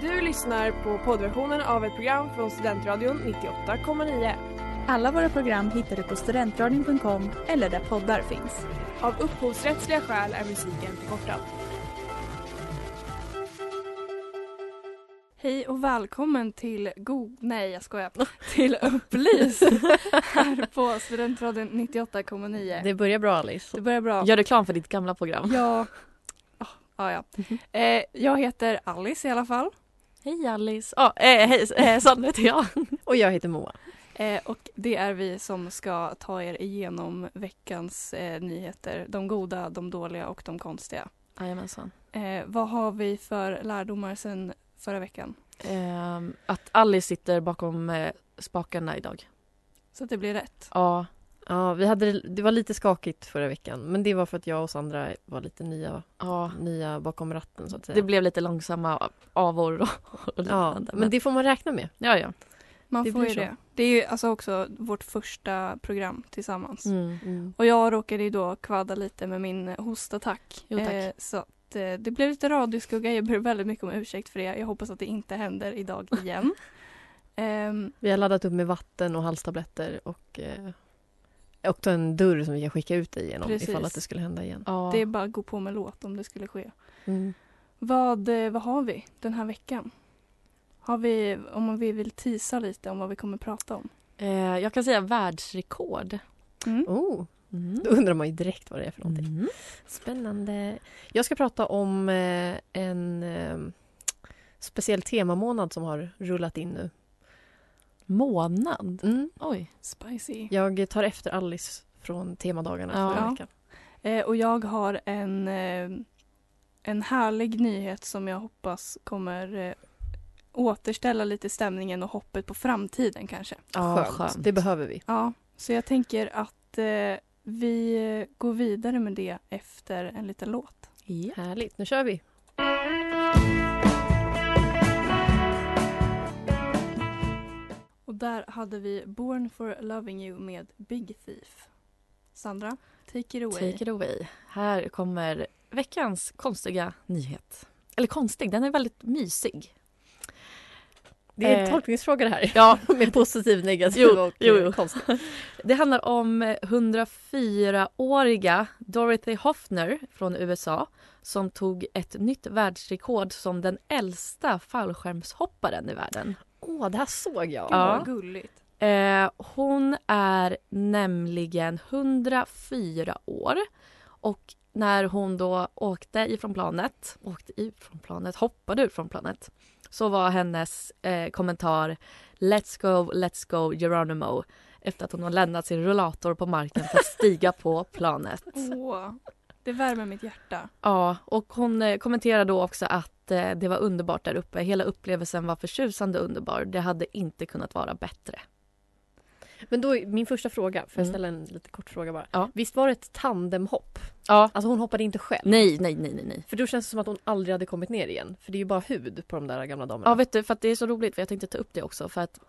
Du lyssnar på poddversionen av ett program från Studentradion 98,9. Alla våra program hittar du på studentradion.com eller där poddar finns. Av upphovsrättsliga skäl är musiken förkortad. Hej och välkommen till Go... Nej jag skojar. Till Upplys här på Studentradion 98,9. Det, Det börjar bra Alice. börjar bra. Gör reklam för ditt gamla program. Ja. Ah, ah, ja. Eh, jag heter Alice i alla fall. Hej Alice! Ja, eh, hej, eh, Sanna heter jag. Och jag heter Moa. Eh, och det är vi som ska ta er igenom veckans eh, nyheter. De goda, de dåliga och de konstiga. Jajamensan. Eh, vad har vi för lärdomar sen förra veckan? Eh, att Alice sitter bakom eh, spakarna idag. Så att det blir rätt. Ja. Ja, vi hade, det var lite skakigt förra veckan men det var för att jag och Sandra var lite nya, nya bakom ratten så att säga. Det blev lite långsamma avor och, och ja, liknande. men det får man räkna med. ja, ja. Man Det får blir ju så. det. Det är ju alltså också vårt första program tillsammans. Mm. Och jag råkade ju då kvadda lite med min eh, hostattack. Jo, tack. Eh, så att, eh, det blev lite radioskugga. Jag ber väldigt mycket om ursäkt för det. Jag hoppas att det inte händer idag igen. Ehm, Vi har laddat upp med vatten och halstabletter och eh, också en dörr som vi kan skicka ut dig genom Precis. ifall att det skulle hända igen. ja. Det är bara att gå på med låt om det skulle ske. Mm. Vad, eh, vad har vi den här veckan? Har vi, om vi vill tisa lite om vad vi kommer prata om. Eh, jag kan säga världsrekord. Mm. Oh, Mm. då undrar man ju direkt vad det är för någonting. Mm. Spännande. Jag ska prata om eh, en eh, speciell temamånad som har rullat in nu. Månad? Mm. Oj. Spicy. Jag tar efter Alice från temadagarna Ja. förra veckan. Eh, och jag har en, eh, en härlig nyhet som jag hoppas kommer eh, återställa lite stämningen och hoppet på framtiden kanske. Ja, Skönt. skönt. Det behöver vi. Ja, så jag tänker att eh, vi går vidare med det efter en liten låt. Ja. Härligt, nu kör vi. Och där hade vi Born for loving you med Big Thief. Sandra, take it away. Take it away. Här kommer veckans konstiga nyhet. Eller konstig, den är väldigt mysig. Det är en Eh. tolkningsfråga det här. Ja, Med positiv, negativ Jo, och jo, eh, jo. konstig. Det handlar om 104-åriga Dorothy Hoffner från USA som tog ett nytt världsrekord som den äldsta fallskärmshopparen i världen. Åh, det här såg jag. Ja. Vad gulligt. Eh, hon är nämligen 104 år och när hon då åkte ifrån planet, åkte ifrån planet, hoppade ut från planet så var hennes eh, kommentar Let's go, let's go Geronimo efter att hon har lämnat sin rullator på marken för att stiga på planet. Åh, det värmer mitt hjärta. Ja, och hon eh, kommenterade då också att eh, det var underbart där uppe. Hela upplevelsen var förtjusande underbar. Det hade inte kunnat vara bättre. Men då, är min första fråga, får jag Mm. ställa en lite kort fråga bara? Ja. Visst var det ett tandemhopp? Ja. Alltså hon hoppade inte själv? Nej, nej, nej, nej, nej. För då känns det som att hon aldrig hade kommit ner igen. För det är ju bara hud på de där gamla damerna. Ja, vet du, för att det är så roligt för jag tänkte ta upp det också för att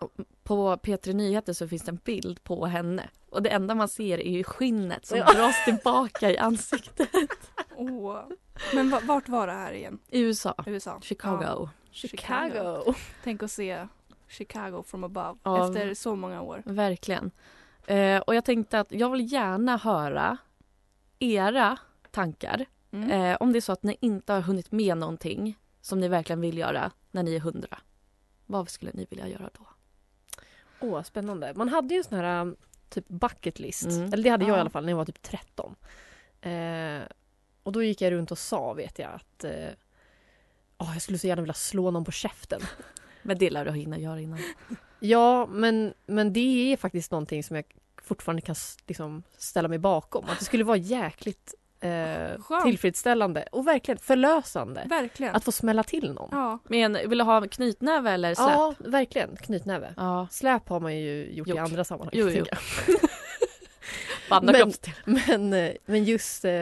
på P3 Nyheter så finns det en bild på henne och det enda man ser är ju skinnet som Ja. dras tillbaka i ansiktet. Åh. Men va- vart var det här igen? I USA, USA? Ja. Chicago. Chicago. Tänk att se Chicago from above Ja. efter så många år. Verkligen. Eh, och jag tänkte att jag vill gärna höra era tankar. Mm. Eh, om det är så att ni inte har hunnit med någonting som ni verkligen vill göra när ni är hundra. Vad skulle ni vilja göra då? Åh, spännande. Man hade ju en sån här um, typ bucket list. Mm. Eller det hade jag Ja. i alla fall när jag var typ 13. Eh, och då gick jag runt och sa, vet jag, att eh, åh, jag skulle så gärna vilja slå någon på käften. Men det lär du hinna göra innan. ja, men, men det är faktiskt någonting som jag fortfarande kan s- liksom, ställa mig bakom. Att det skulle vara jäkligt eh, Skönt. tillfredsställande och verkligen förlösande Verkligen. att få smälla till någon. ja. Men vill du ha knytnäve eller släp? Ja, verkligen. Knytnäve. ja. Släp har man ju gjort i Gjort. andra sammanhang. Jo, jo. tänker jag. På andra Men- kroppsdelar. Men, eh, men just eh,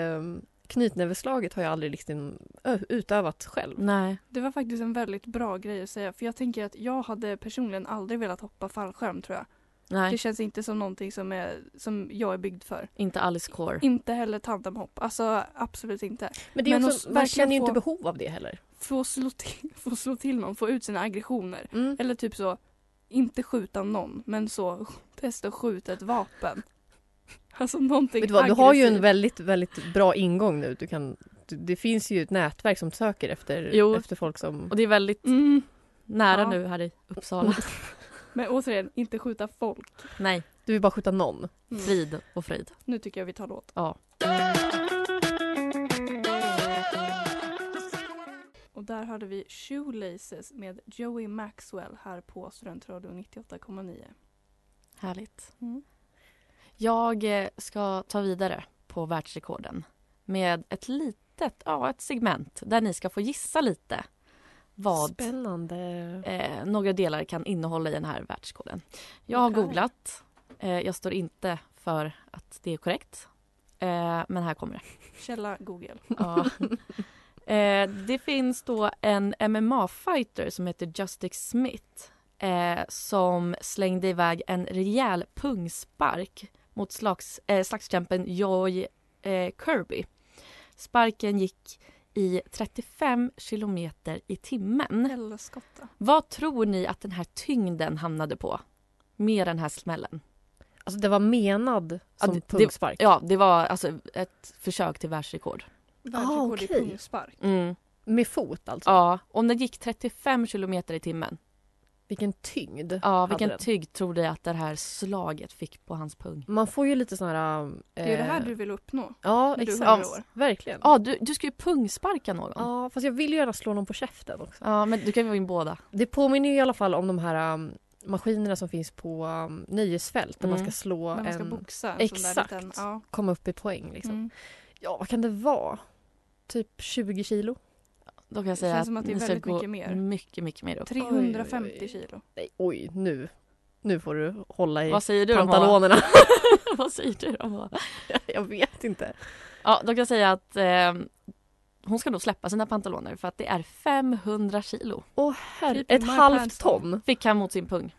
knytnäveslaget har jag aldrig liksom ö- utövat själv. Nej. Det var faktiskt en väldigt bra grej att säga för jag tänker att jag hade personligen aldrig velat hoppa fallskärm tror jag. Nej, Det känns inte som någonting som, är, som jag är byggd för. inte Alice Core. Inte heller tandemhopp, alltså absolut inte. Men det är Men också, att man verkligen känner ju få- inte behov av det heller. få slå till, få slå till någon, få ut sina aggressioner. Mm. Eller typ så, inte skjuta någon, men så testa att skjuta ett vapen. Alltså någonting Vet du, vad, du har ju en aggressivt. väldigt, väldigt bra ingång nu. Du kan, du, det finns ju ett nätverk som söker efter, Jo. efter folk som... Och det är väldigt Mm, nära Ja. nu här i Uppsala. men återigen, inte skjuta folk. Nej, Du vill bara skjuta någon. Mm. frid och fröjd. Nu tycker jag vi tar låt. Ja. Och där hade vi Shoelaces med Joey Maxwell här på Studentradion 98,9. Härligt. Mm. Jag eh, ska ta vidare på världsrekorden med ett litet ja, ett segment där ni ska få gissa lite vad Spännande. eh, några delar kan innehålla i den här världskoden. Jag har Okej. googlat. Eh, jag står inte för att det är korrekt. Eh, men här kommer det. Källa Google. Ja. eh, det finns då en MMA-fighter som heter Justice Smith eh, som slängde iväg en rejäl pungspark mot slags, eh, slagskämpen Joy eh, Kirby. Sparken gick i 35 kilometer i timmen. Ah, Helskotta. Vad tror ni att den här tyngden hamnade på med den här smällen? Alltså det var menad Ja, som det- det- pungspark. Ja, det var alltså ett försök till världsrekord. Världsrekord i okej. pungspark. Med fot alltså. Ja, om den gick 35 kilometer i timmen Vilken tyngd. Ja, hade vilken den. tygg tror du att det här slaget fick på hans pung? Man får ju lite sån här... eh, Det är ju det här du vill uppnå. Ja, när du exakt. fyller år. Ja, verkligen. Ja, du, du ska ju pungsparka någon. Ja, Ja, fast jag vill ju gärna slå någon på käften också. men du kan ju få in båda. Det påminner ju i alla fall om de här um, maskinerna som finns på um, nöjesfält där man Mm. ska slå När man ska en... boxa. En Exakt. Sån där liten, ja. Komma upp i poäng liksom. mm. Ja, vad kan det vara? Typ 20 kilo? Då kan jag Det säga känns som att det är ni ska väldigt gå mycket mer. mycket, mycket mer upp. 350 Oj, oj, oj. kilo. Nej, oj, nu. Nu får du hålla i Vad säger du då? pantalonerna. Vad säger du då? jag vet inte. Ja, då kan jag säga att eh, hon ska nog släppa sina pantaloner för att det är 500 kilo Åh herre, Typ ett Mike halvt Hanson. ton. fick han mot sin pung.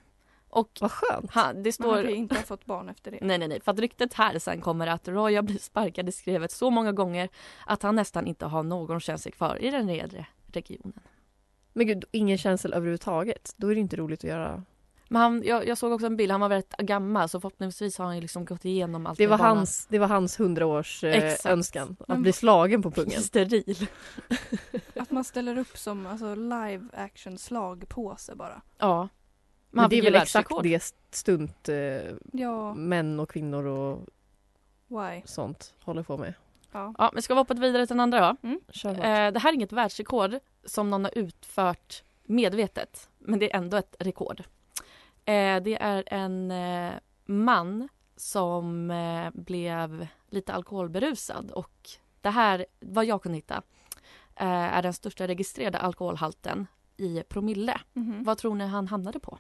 Och Vad skönt. han, det Man står... har ju inte ha fått barn efter det. Nej, nej, nej. För att ryktet här sen kommer att Roy har blivit sparkad i skrevet så många gånger att han nästan inte har någon känsla kvar i den nedre regionen. Men gud, ingen känsel överhuvudtaget. Då är det inte roligt att göra. Men han, jag, jag såg också en bild, han var väldigt gammal så förhoppningsvis har han ju liksom gått igenom allt Det var med banan. hans, det var hans hundraårs eh, Exakt. önskan. Att Men- bli slagen på pungen. Steril. Att man ställer upp som alltså, live action slagpåse bara. Ja. Men Men han det är fick ju väl exakt världsrekord. det stunt eh, Ja, män och kvinnor och why? sånt håller på med. Ja. Ja, men ska vi hoppa vidare till den andra då? Kör hårt. Eh, det här är inget världsrekord som någon har utfört medvetet. Men det är ändå ett rekord. Eh, det är en eh, man som eh, blev lite alkoholberusad och det här, vad jag kunde hitta, eh, är den största registrerade alkoholhalten i promille. Mhm. Vad tror ni han hamnade på?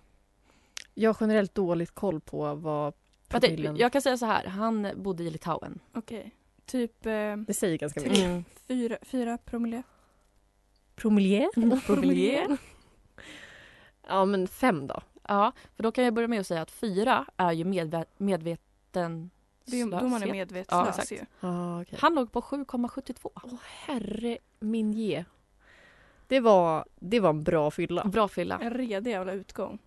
Jag har generellt dåligt koll på vad Vänta, promillen... jag kan säga så här, han bodde i Litauen. Okej. Typ eh, Det säger ganska mycket. Tre. Mm. fyra, fyra promille. Promillier? Promille. Ja, men fem då. Ja, för då kan jag börja med att säga att fyra är ju medve- medveten... Det är ju då man är slöshet. Ja, medvetslös exakt. ju. Ah, okay. Han låg på 7,72. Åh herre min ge. Det var, det var en bra fylla. Bra fylla. En redig jävla utgång.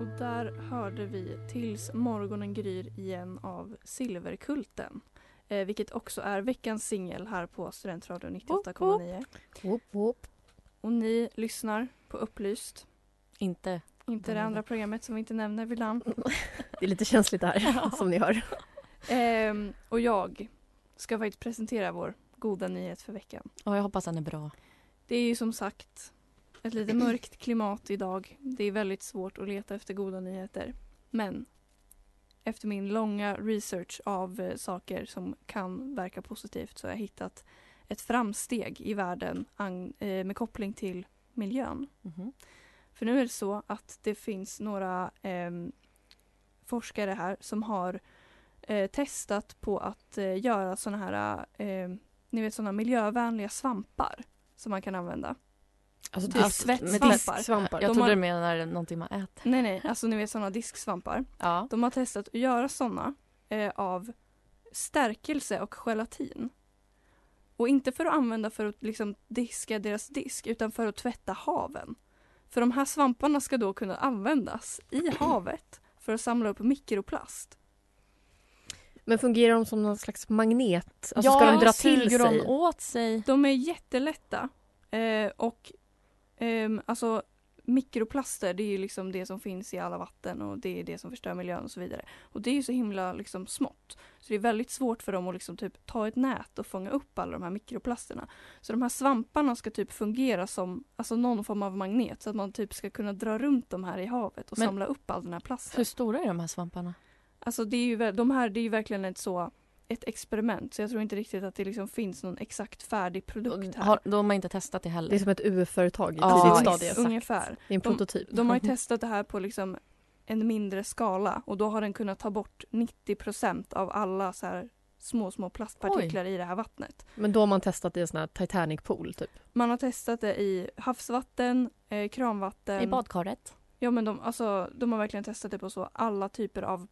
Och där hörde vi Tills morgonen gryr igen av Silverkulten. Eh, vilket också är veckans singel här på Studentradion 98,9. Whoop, whoop. Och ni lyssnar på Upplyst. Inte... Inte det andra programmet som vi inte nämner vid namn. Det är lite känsligt här, som ni hör. Ehm, och jag ska faktiskt presentera vår goda nyhet för veckan. Ja, jag hoppas han är bra. Det är ju som sagt ett lite mörkt klimat idag. Det är väldigt svårt att leta efter goda nyheter. Men efter min långa research av eh, saker som kan verka positivt så har jag hittat ett framsteg i världen ang- eh, med koppling till miljön. Mhm. För nu är det så att det finns några ehm, forskare här som har eh, testat på att eh, göra såna här eh, ni vet såna miljövänliga svampar som man kan använda. Alltså, Typ Alltså, men svettsvampar. svampar. Jag De trodde har- du menade någonting man äter. Nej nej, alltså ni vet såna disksvampar. Ja. De har testat att göra såna eh, av stärkelse och gelatin. Och inte för att använda för att liksom diska deras disk utan för att tvätta haven. För de här svamparna ska då kunna användas i havet för att samla upp mikroplast. Men fungerar de som någon slags magnet? Alltså ja, ska de dra suger till sig? de åt sig? De är jättelätta eh, och ehm, alltså mikroplaster det är ju liksom det som finns i alla vatten och det är det som förstör miljön och så vidare. Och det är ju så himla liksom smått. Så det är väldigt svårt för dem att liksom typ ta ett nät och fånga upp alla de här mikroplasterna. Så de här svamparna ska typ fungera som alltså någon form av magnet så att man typ ska kunna dra runt de här i havet och Men- samla upp all den här plasten. Hur stora är de här svamparna? Alltså det är ju, vä- de här, det är ju verkligen ett så ett experiment så jag tror inte riktigt att det liksom finns någon exakt färdig produkt här. Har, de har inte testat det heller. Det är som ett UF-företag i Ja, tidigt exakt. Mm. stadie. ungefär. Det är en prototyp. Mm. De har ju testat det här på liksom en mindre skala och då har den kunnat ta bort 90 av alla så här små, små plastpartiklar i det här vattnet. Men då har man testat i en sån här Titanic-pool typ. Man har testat det i havsvatten, eh, kranvatten. I badkaret. Ja men de, alltså, de har verkligen testat det på så alla typer av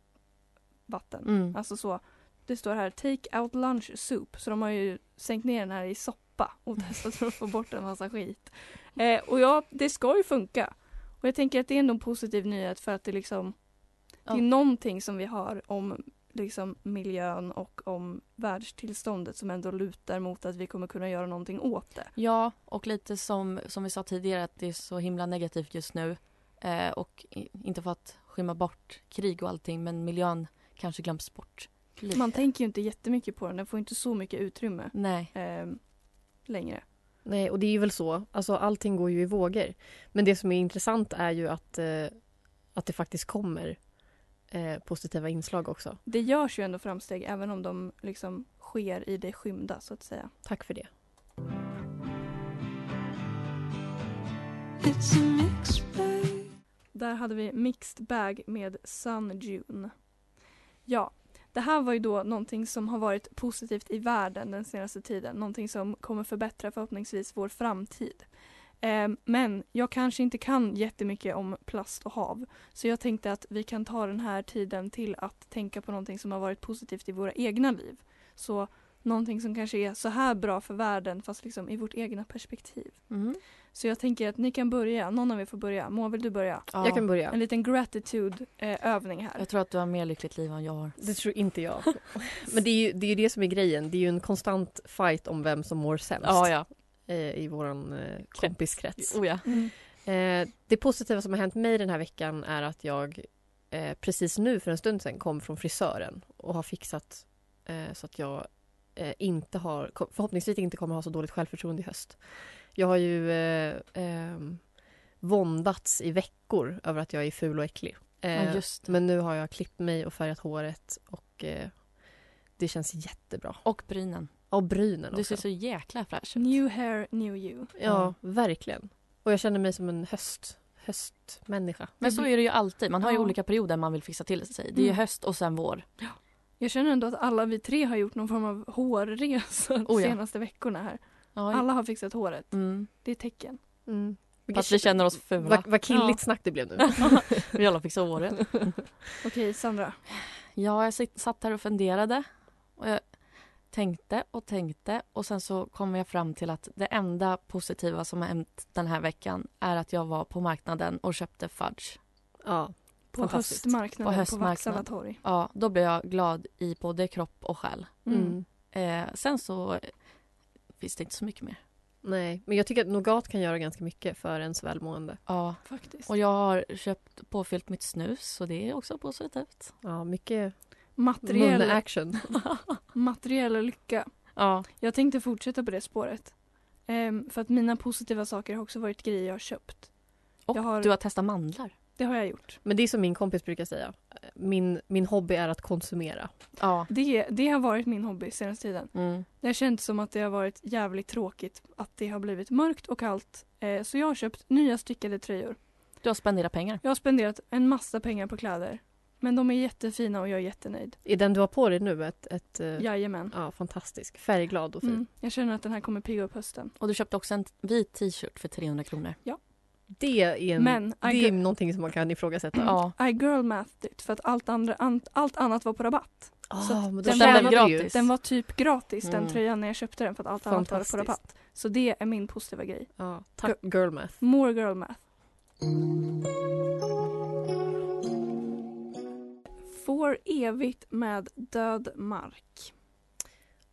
vatten. Mm. Alltså så, det står här take out lunch soup. Så de har ju sänkt ner den här i soppa och testat för att få bort en massa skit. Eh, och ja, det ska ju funka. Och jag tänker att det är ändå en positiv nyhet för att det liksom Det Ja. är någonting som vi har om liksom miljön och om världstillståndet som ändå lutar mot att vi kommer kunna göra någonting åt det. Ja, och lite som, som vi sa tidigare att det är så himla negativt just nu. Eh, och i- inte för att skymma bort krig och allting men miljön kanske glöms bort. Lite. Man tänker ju inte jättemycket på den, den får inte så mycket utrymme Nej. eh, längre. Nej, och det är ju väl så. Alltså allting går ju i vågor. Men det som är intressant är ju att, eh, att det faktiskt kommer eh, positiva inslag också. Det görs ju ändå framsteg även om de liksom sker i det skymda så att säga. Tack för det. Där hade vi Mixed Bag med Sun June. Ja, det här var ju då någonting som har varit positivt i världen den senaste tiden. Någonting som kommer förbättra förhoppningsvis vår framtid. Eh, men jag kanske inte kan jättemycket om plast och hav. Så jag tänkte att vi kan ta den här tiden till att tänka på någonting som har varit positivt i våra egna liv. Så någonting som kanske är så här bra för världen fast liksom i vårt egna perspektiv. Mm. Så jag tänker att ni kan börja, någon av er får börja. Moa vill du börja? Ja. Jag kan börja. En liten gratitude-övning här. Jag tror att du har mer lyckligt liv än jag har. Det tror inte jag. Men det är ju det, är ju det som är grejen. Det är ju en konstant fight om vem som mår sämst ja. eh, i vår eh, kompiskrets. Oh, ja. Mm. Eh, det positiva som har hänt mig den här veckan är att jag eh, precis nu för en stund sedan kom från frisören och har fixat eh, så att jag eh, inte har, kom- förhoppningsvis inte kommer ha så dåligt självförtroende i höst. Jag har ju eh, eh, våndats i veckor över att jag är ful och äcklig. Eh, ja just det. men nu har jag klippt mig och färgat håret och eh, det känns jättebra. Och brynen. Och brynen Du också. ser så jäkla fräsch ut. New hair, new you. Ja, verkligen. Och jag känner mig som en höst, höstmänniska. Men så är det ju alltid. Man har ju Ja. olika perioder man vill fixa till sig. Det är Mm. höst och sen vår. Jag känner ändå att alla vi tre har gjort någon form av hårresa de Oh ja. senaste veckorna här. Ja. Alla har fixat håret. Mm. Det är tecken. Mm. Fast vi känner oss fula. Vad, vad killigt Ja. snack det blev nu. Vi alla fixar håret. Okej, Sandra. Ja, jag sit- satt här och funderade. Och jag tänkte och tänkte och sen så kom jag fram till att det enda positiva som har hänt den här veckan är att jag var på marknaden och köpte fudge. Ja. På Fantastiskt. höstmarknaden På på, höstmarknaden. Vaksala torg. Ja, då blev jag glad i både kropp och själ. Mm. Eh, sen så eh, finns det inte så mycket mer. Nej, men jag tycker att nougat kan göra ganska mycket för ens välmående. Ja, Faktiskt. och jag har köpt påfyllt mitt snus så det är också positivt. Ja, mycket Materiell, munne-action. materiell lycka. Ja, Jag tänkte fortsätta på det spåret. Ehm, för att mina positiva saker har också varit grejer jag har köpt. och Jag har- du har testat mandlar. Det har jag gjort. Men det är som min kompis brukar säga. Min, min hobby är att konsumera. Ja. Det, det har varit min hobby senaste tiden. Mm. Det har känts som att det har varit jävligt tråkigt att det har blivit mörkt och kallt. Eh, så jag har köpt nya styckade tröjor. Du har spenderat pengar. Jag har spenderat en massa pengar på kläder. Men de är jättefina och jag är jättenöjd. Är den du har på dig nu ett... ett eh, Jajamän. ja, fantastisk. Färgglad och fin. Mm. Jag känner att den här kommer pigga upp hösten. Och du köpte också en t- vit t-shirt för 300 kronor. Det är, en, Men, det I är någonting som man kan ifrågmatha. Ja. I girl mathed it för att allt, andra, an, allt annat var på rabatt. Så att Ah, men då den tjänar var- du ju. gratis. Den var typ gratis den Mm. tröjan när jag köpte den för att allt annat var på Fantastiskt. rabatt. Så det är min positiva grej. Ja, tack girl math. More girl math. Får evigt med död mark.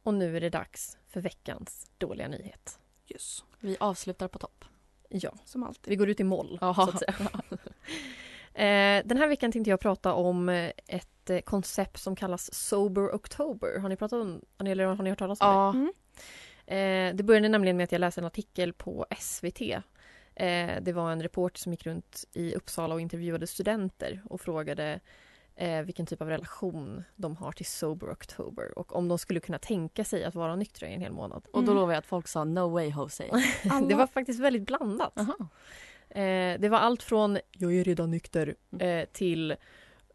Och nu är det dags för veckans dåliga nyhet. Yes. Vi avslutar på topp. Ja, Som alltid. vi går ut i moll. Jaha. Så att säga. Eh, Den här veckan tänkte jag prata om eh, ett eh, koncept som kallas Sober October. Har ni pratat om eller har ni hört talas om det? Ja. Eh, det började nämligen med att jag läste en artikel på SVT. Eh, det var en reporter som gick runt i Uppsala och intervjuade studenter och frågade eh, vilken typ av relation de har till Sober October och om de skulle kunna tänka sig att vara nyktra i en hel månad. Och då Mm. lovar jag att folk sa no way Jose. Alla, Det var faktiskt väldigt blandat. Eh, det var allt från jag är redan nykter eh, till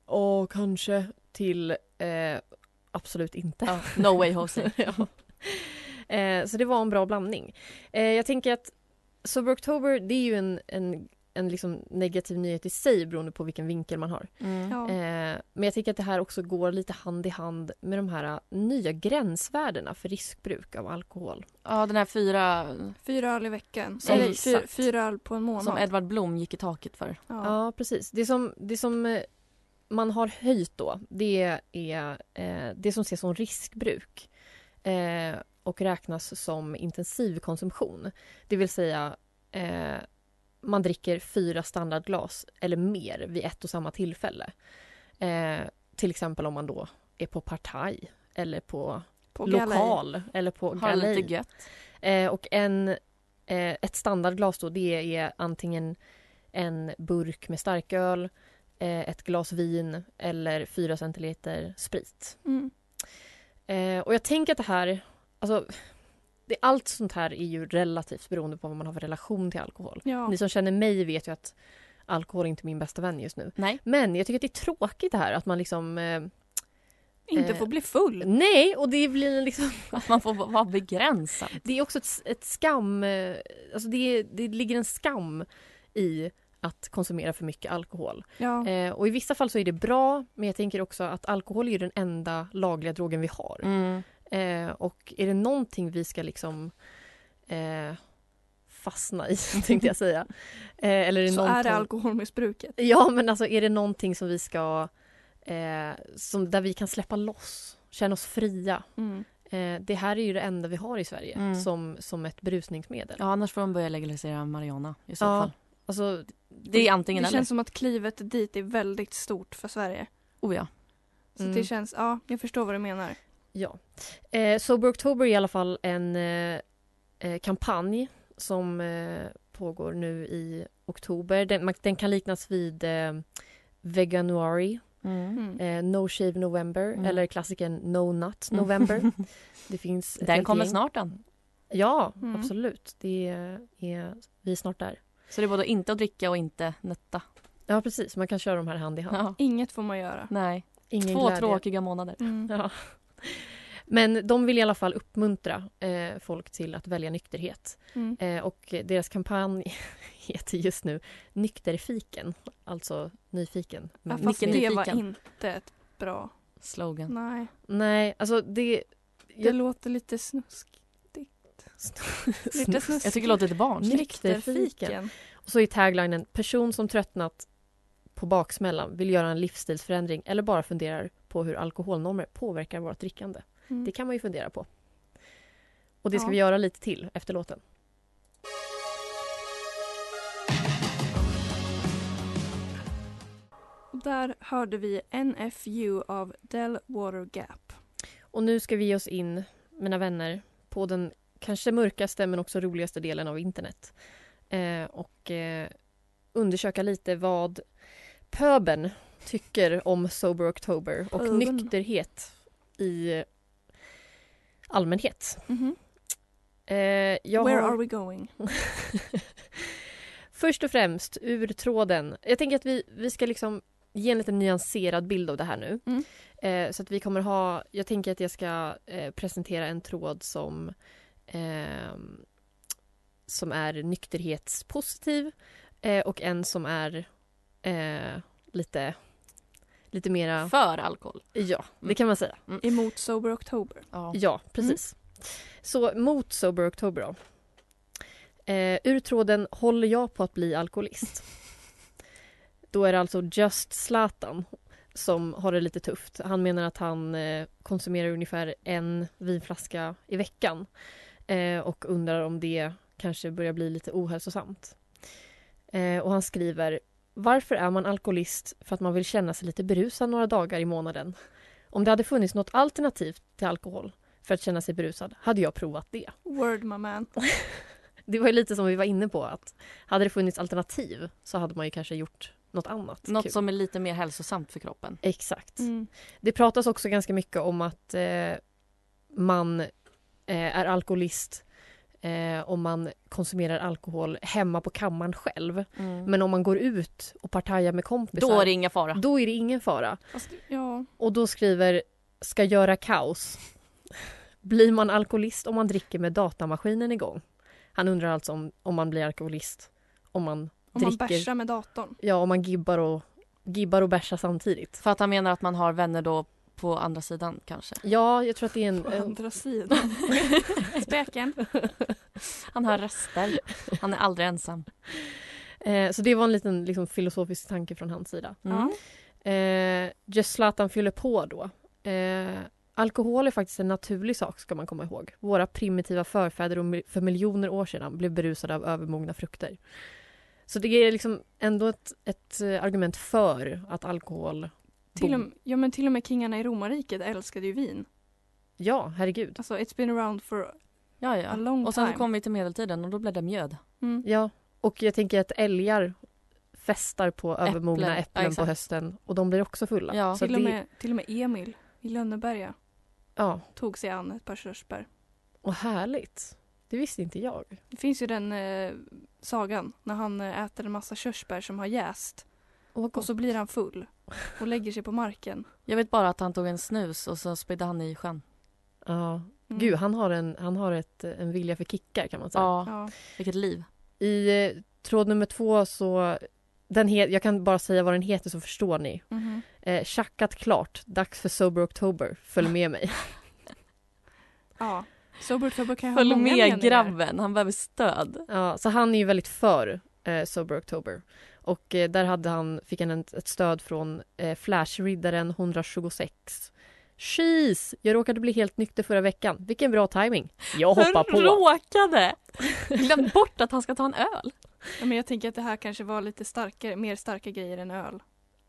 åh kanske till eh, absolut inte. Ja, no way Jose. Ja. Eh, så det var en bra blandning. Eh, jag tänker att Sober October det är ju en, en, en liksom negativ nyhet i sig beroende på vilken vinkel man har. Mm. ja. Eh, men jag tänker att det här också går lite hand i hand med de här eh, nya gränsvärdena för riskbruk av alkohol. Ja, den här fyra Fyra öl i veckan. Som- Eller fyra, Exakt. fyra öl på en månad. som Edvard Blom gick i taket för. ja. Ja, precis. Det som, det som eh, man har höjt då, det är eh, det som ses som riskbruk eh, och räknas som intensiv konsumtion. Det vill säga, eh, man dricker fyra standardglas eller mer vid ett och samma tillfälle. Eh, till exempel om man då är på partaj eller på, på galej. lokal eller på Har det galej. lite gött. Eh, och en, eh, ett standardglas då, det är antingen en burk med starköl, eh, ett glas vin eller 4 centiliter sprit. Mm. Eh, och jag tänker att det här, alltså, det, allt sånt här är ju relativt beroende på vad man har för relation till alkohol. Ja. Ni som känner mig vet ju att alkohol är inte min bästa vän just nu. Nej. Men jag tycker att det är tråkigt det här att man liksom... Eh, Inte eh, få bli full. nej, och det blir en liksom... Att man får vara begränsad. Det är också ett, ett skam... eh, Alltså det, är- det ligger en skam i att konsumera för mycket alkohol. Ja. Eh, och I vissa fall så är det bra, men jag tänker också att alkohol är ju den enda lagliga drogen vi har. Mm. Eh, och är det någonting vi ska liksom eh, fastna i, tänkte jag säga. Eh, eller är det Så någonting... är det alkoholmissbruket. Ja, men alltså är det någonting som vi ska... Eh, som, där vi kan släppa loss, känna oss fria. Mm. Eh, det här är ju det enda vi har i Sverige Mm. som, som ett berusningsmedel. Ja, annars får de börja legalisera marijuana i så Ja. fall. Alltså, Det är Det antingen känns eller. som att klivet dit är väldigt stort för Sverige. Oh ja. Så Mm. det känns, ja, jag förstår vad du menar. ja. Eh, Sober October är i alla fall en eh, eh, kampanj som eh, pågår nu i oktober. Den, man- den kan liknas vid eh, Veganuari, Mm. eh, No Shave November Mm. eller klassikern No Nut November. det finns ett Den helt kommer gäng. snart den. Ja, Mm. absolut. Det är, vi är snart där. Så det är både inte att dricka och inte nötta. Ja, precis. Man kan köra de här hand i hand. Ja. Inget får man göra. Nej. Ingen Två glädje. tråkiga månader. Mm. Ja. Men de vill i alla fall uppmuntra eh, folk till att välja nykterhet. Mm. Eh, och deras kampanj heter just nu Nykterfiken, alltså nyfiken. Ja, Men Ah, fast Nicke det var nyfiken. inte ett bra... Slogan. Nej. Nej, alltså det... Det Jag- låter lite snusk. Lite snusk. Jag tycker det låter lite barnsligt. Nykterfiken. Nykterfiken. Och så är taglinen person som tröttnat på baksmällan vill göra en livsstilsförändring eller bara funderar på hur alkoholnormer påverkar vårt drickande. Mm. Det kan man ju fundera på. Och det ska Ja. vi göra lite till efter låten. Och Där hörde vi NFU av Del Water Gap. Och nu ska vi ge oss in, mina vänner, på den kanske mörkaste men också roligaste delen av internet. Eh, och eh, undersöka lite vad pöben tycker om Sober October och Pöbeln. nykterhet i allmänhet. Mhm. Eh, jag Where har- are we going? Först och främst, ur tråden. Jag tänker att vi, vi ska liksom ge en lite nyanserad bild av det här nu. Mm. Eh, så att vi kommer ha... Jag tänker att jag ska eh, presentera en tråd som ehm, som är nykterhetspositiv eh, och en som är eh, lite Lite mera... För alkohol. Ja, det kan man säga. Emot Sober October. Ja. Ja, precis. Så mot Sober October då. Eh, ur tråden “Håller jag på att bli alkoholist?” Då är det alltså Just Zlatan som har det lite tufft. Han menar att han eh, konsumerar ungefär en vinflaska i veckan eh, och undrar om det kanske börjar bli lite ohälsosamt. Eh, och han skriver “Varför är man alkoholist för att man vill känna sig lite berusad några dagar i månaden? Om det hade funnits något alternativ till alkohol för att känna sig berusad hade jag provat det. Word my man. Det var ju lite som vi var inne på att hade det funnits alternativ så hade man ju kanske gjort något annat. Något kul. som är lite mer hälsosamt för kroppen. Exakt. Mm. Det pratas också ganska mycket om att eh, man eh, är alkoholist eh, om man konsumerar alkohol hemma på kammaren själv. Men om man går ut och partajar med kompisar Mm. Då är det inga fara. då är det ingen fara. Fast, ja. Och då skriver “Ska göra kaos”. Blir man alkoholist om man dricker med datamaskinen igång? Han undrar alltså om, om man blir alkoholist om man Om man dricker, bärsar med datorn. ja om man gibbar och, gibbar och bärsar samtidigt. För att han menar att man har vänner då på andra sidan kanske. Ja, jag tror att det är en... På en andra sidan. Spöken. Han har röster. Han är aldrig ensam. eh, så det var en liten liksom, filosofisk tanke från hans sida. Mm. Ja. Eh, just Zlatan fyller på då. Eh, alkohol är faktiskt en naturlig sak ska man komma ihåg. Våra primitiva förfäder om- för miljoner år sedan blev berusade av övermogna frukter. Så det är liksom ändå ett, ett eh, argument för att alkohol... Till och, Boom. ja, men till och med kingarna i romarriket älskade ju vin. Ja, herregud. Alltså it's been around for Ja, a ja. long Och sen time. kom vi till medeltiden och då blev det mjöd. Mm. Ja, och jag tänker att älgar festar på övermogna Ja, äpplen på exakt. hösten och de blir också fulla. Ja, så Till, och det, med, till och med Emil i Lönneberga ja. tog sig an ett par körsbär. Och härligt. Det visste inte jag. Det finns ju den eh, sagan när han eh, äter en massa körsbär som har jäst Och vad och gott. så blir han full och lägger sig på marken. Jag vet bara att han tog en snus och så spydde han i sjön. Ja. Mm. Gud, han har, en, han har ett, en vilja för kickar kan man säga. Ja, Ja. vilket liv. I eh, tråd nummer två så... Den he- jag kan bara säga vad den heter så förstår ni. Mhm. Eh, tjackat klart, dags för Sober October. Följ med mig. ja. Sober October kan ju ha Följ många meningar. med grabben, han behöver stöd. ja, så han är ju väldigt för eh, Sober October. Och eh, där hade han, fick han ett, ett stöd från eh, Flashriddaren 126. Cheese! Jag råkade bli helt nykter förra veckan. Vilken bra timing. Jag hoppar på. Råkade! Glömt bort att han ska ta en öl. Ja, men jag tänker att det här kanske var lite starkare, mer starka grejer än öl.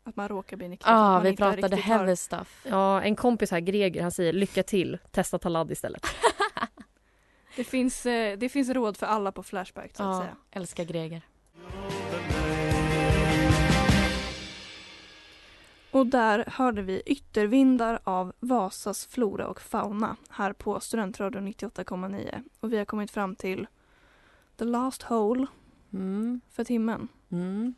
Att man råkar bli nykter. Ja, att man Ah, vi inte pratade riktigt har- heavy stuff. Ja, en kompis här, Greger, han säger lycka till. Testa Talad istället. Det finns, eh, det finns råd för alla på Flashback så att Ja, säga. älskar Greger. Och där hörde vi Yttervindar av Vasas flora och fauna här på Studentradion 98,9. Och vi har kommit fram till The Last Hole Mm. för timmen. Mm.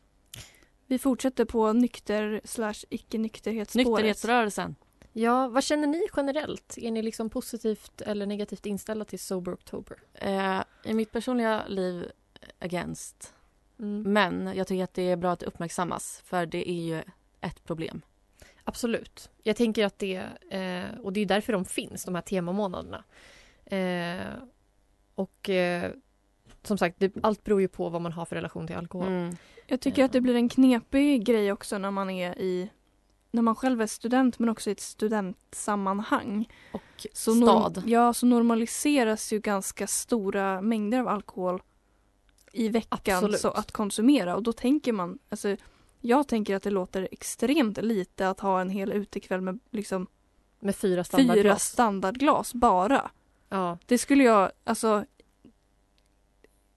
Vi fortsätter på nykter slash icke-nykterhetsspåret. Nykterhetsrörelsen. Ja, vad känner ni generellt? Är ni liksom positivt eller negativt inställda till Sober October? Eh, I mitt personliga liv, against. Mm. Mm, Men jag tycker att det är bra att det uppmärksammas, för det är ju ett problem. Absolut. Jag tänker att det... Eh, och det är därför de finns, de här temamånaderna. Eh, och eh, som sagt, det, allt beror ju på vad man har för relation till alkohol. Mm. Jag tycker att det blir en knepig grej också när man är i när man själv är student men också i ett studentsammanhang. Och Så norm- stad. ja, så normaliseras ju ganska stora mängder av alkohol i veckan Absolut. så att konsumera och då tänker man, alltså jag tänker att det låter extremt lite att ha en hel utekväll med liksom Med fyra fyra standardglas. standardglas bara. Ja, Det skulle jag, alltså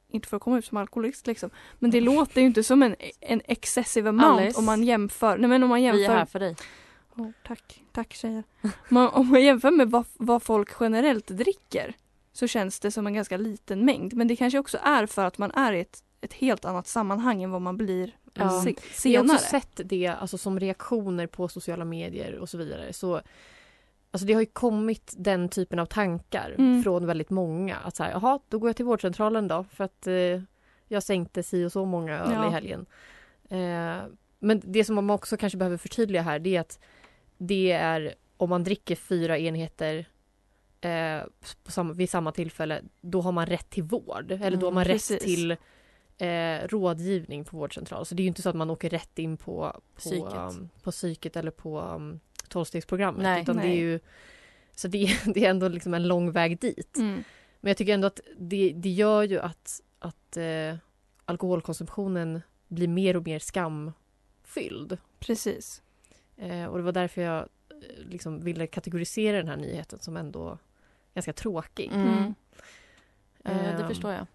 inte för att komma ut som alkoholist liksom. Men Mm. det låter ju inte som en, en excessive amount Alice. om man jämför. Nej men om man Vi är här jämför. för dig. Åh, tack, tack tjejer. Man, om man jämför med vad, vad folk generellt dricker så känns det som en ganska liten mängd. Men det kanske också är för att man är i ett, ett helt annat sammanhang än vad man blir Ja. se, Vi har senare. också sett det alltså, som reaktioner på sociala medier och så vidare. Så, alltså, det har ju kommit den typen av tankar Mm. från väldigt många. Att så här, jaha, då går jag till vårdcentralen då för att eh, jag sänkte si och så många öl Ja. i helgen. Eh, Men det som man också kanske behöver förtydliga här det är att det är om man dricker fyra enheter eh, på samma, vid samma tillfälle då har man rätt till vård. Eller då har Mm, man precis. rätt till eh, rådgivning på vårdcentral. Så det är ju inte så att man åker rätt in på, på, Psyket. um, på psyket eller på um, tolvstegsprogrammet. Nej. utan Det Nej. är ju, så det är, det är ändå liksom en lång väg dit. Mm. Men jag tycker ändå att det, det gör ju att, att eh, alkoholkonsumtionen blir mer och mer skamfylld. Precis. Eh, och det var därför jag eh, liksom ville kategorisera den här nyheten som ändå ganska tråkig. Mm. Eh, det Ehm, förstår jag.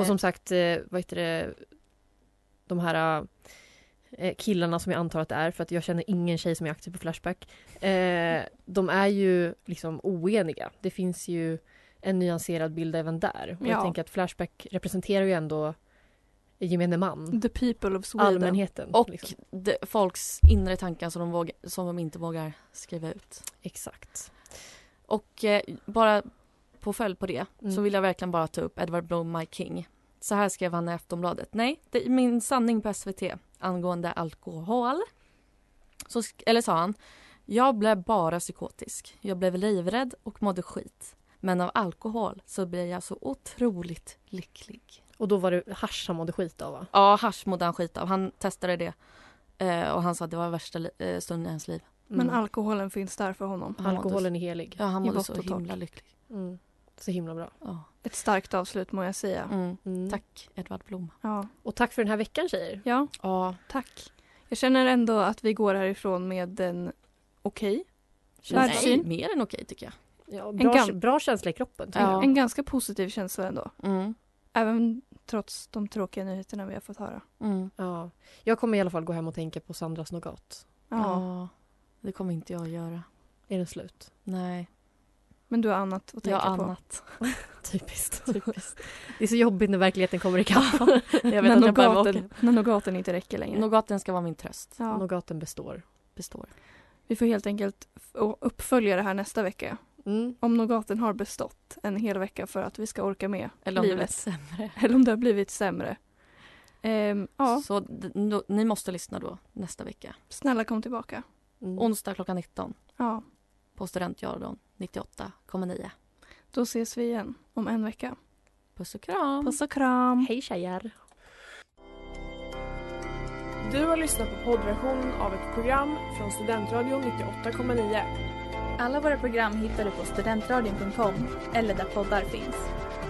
Och som sagt, eh, vad heter det, de här eh, killarna som jag antar att det är, för att jag känner ingen tjej som är aktiv på Flashback. Eh, de är ju liksom oeniga. Det finns ju en nyanserad bild även där. Och Ja. jag tänker att Flashback representerar ju ändå gemene man, The people of Sweden. Mm. allmänheten. Eh, och liksom. de, folks inre tankar som de, vågar, som de inte vågar skriva ut. Exakt. Och eh, bara på följd på det Mm. så vill jag verkligen bara ta upp Edward Blom, My King. Så här skrev han i Aftonbladet. Nej, det är min sanning på SVT angående alkohol. Så, sk- eller sa han. Jag blev bara psykotisk. Jag blev livrädd och mådde skit. Men av alkohol så blev jag så otroligt lycklig. Och då var det hasch han mådde skit av va? Ja, hasch mådde han skit av. Han testade det. Eh, och han sa att det var värsta li- eh, stunden i hans liv. Men Mm. alkoholen finns där för honom. han mådde Alkoholen är helig. Ja, han I mådde vått så och torrt. himla lycklig. Mm. Så himla bra. Ja. Ett starkt avslut må jag säga. Mm. Mm. Tack Edvard Blom. Ja. Och tack för den här veckan tjejer. ja, Ja, tack. Jag känner ändå att vi går härifrån med en okej känns Världssyn. mer än okej tycker jag. Ja, gam- bra, bra känsla i kroppen. tycker Ja. jag. En ganska positiv känsla ändå. Mm. Även trots de tråkiga nyheterna vi har fått höra. Mm. Ja. Jag kommer i alla fall gå hem och tänka på Sandras nougat. Ja. Ja. Det kommer inte jag göra. Är den slut? Nej, Men du har annat att jag tänka har på. annat. Typiskt. Typiskt. Det är så jobbigt när verkligheten kommer ikapp. Jag När vet att jag behöver åka. nougaten- När nougaten inte räcker längre. Nougaten ska vara min tröst. ja. Nougaten består. Består. Vi får helt enkelt f- å- uppfölja det här nästa vecka. Mm. Om nougaten har bestått en hel vecka för att vi ska orka med Eller om det blir Livet. sämre. eller om det har blivit sämre. Ehm, ja, Så d- no, ni måste lyssna då nästa vecka. snälla kom tillbaka. Mm. Onsdag klockan 19 Ja, på Studentjordan 98,9. då ses vi igen om en vecka. Puss och kram! Puss och kram! Hej tjejer! Du har lyssnat på poddversionen av ett program från Studentradion 98,9. Alla våra program hittar du på studentradion.com eller där poddar finns.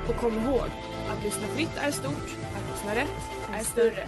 Och kom ihåg, att lyssna fritt är stort, att lyssna rätt är större.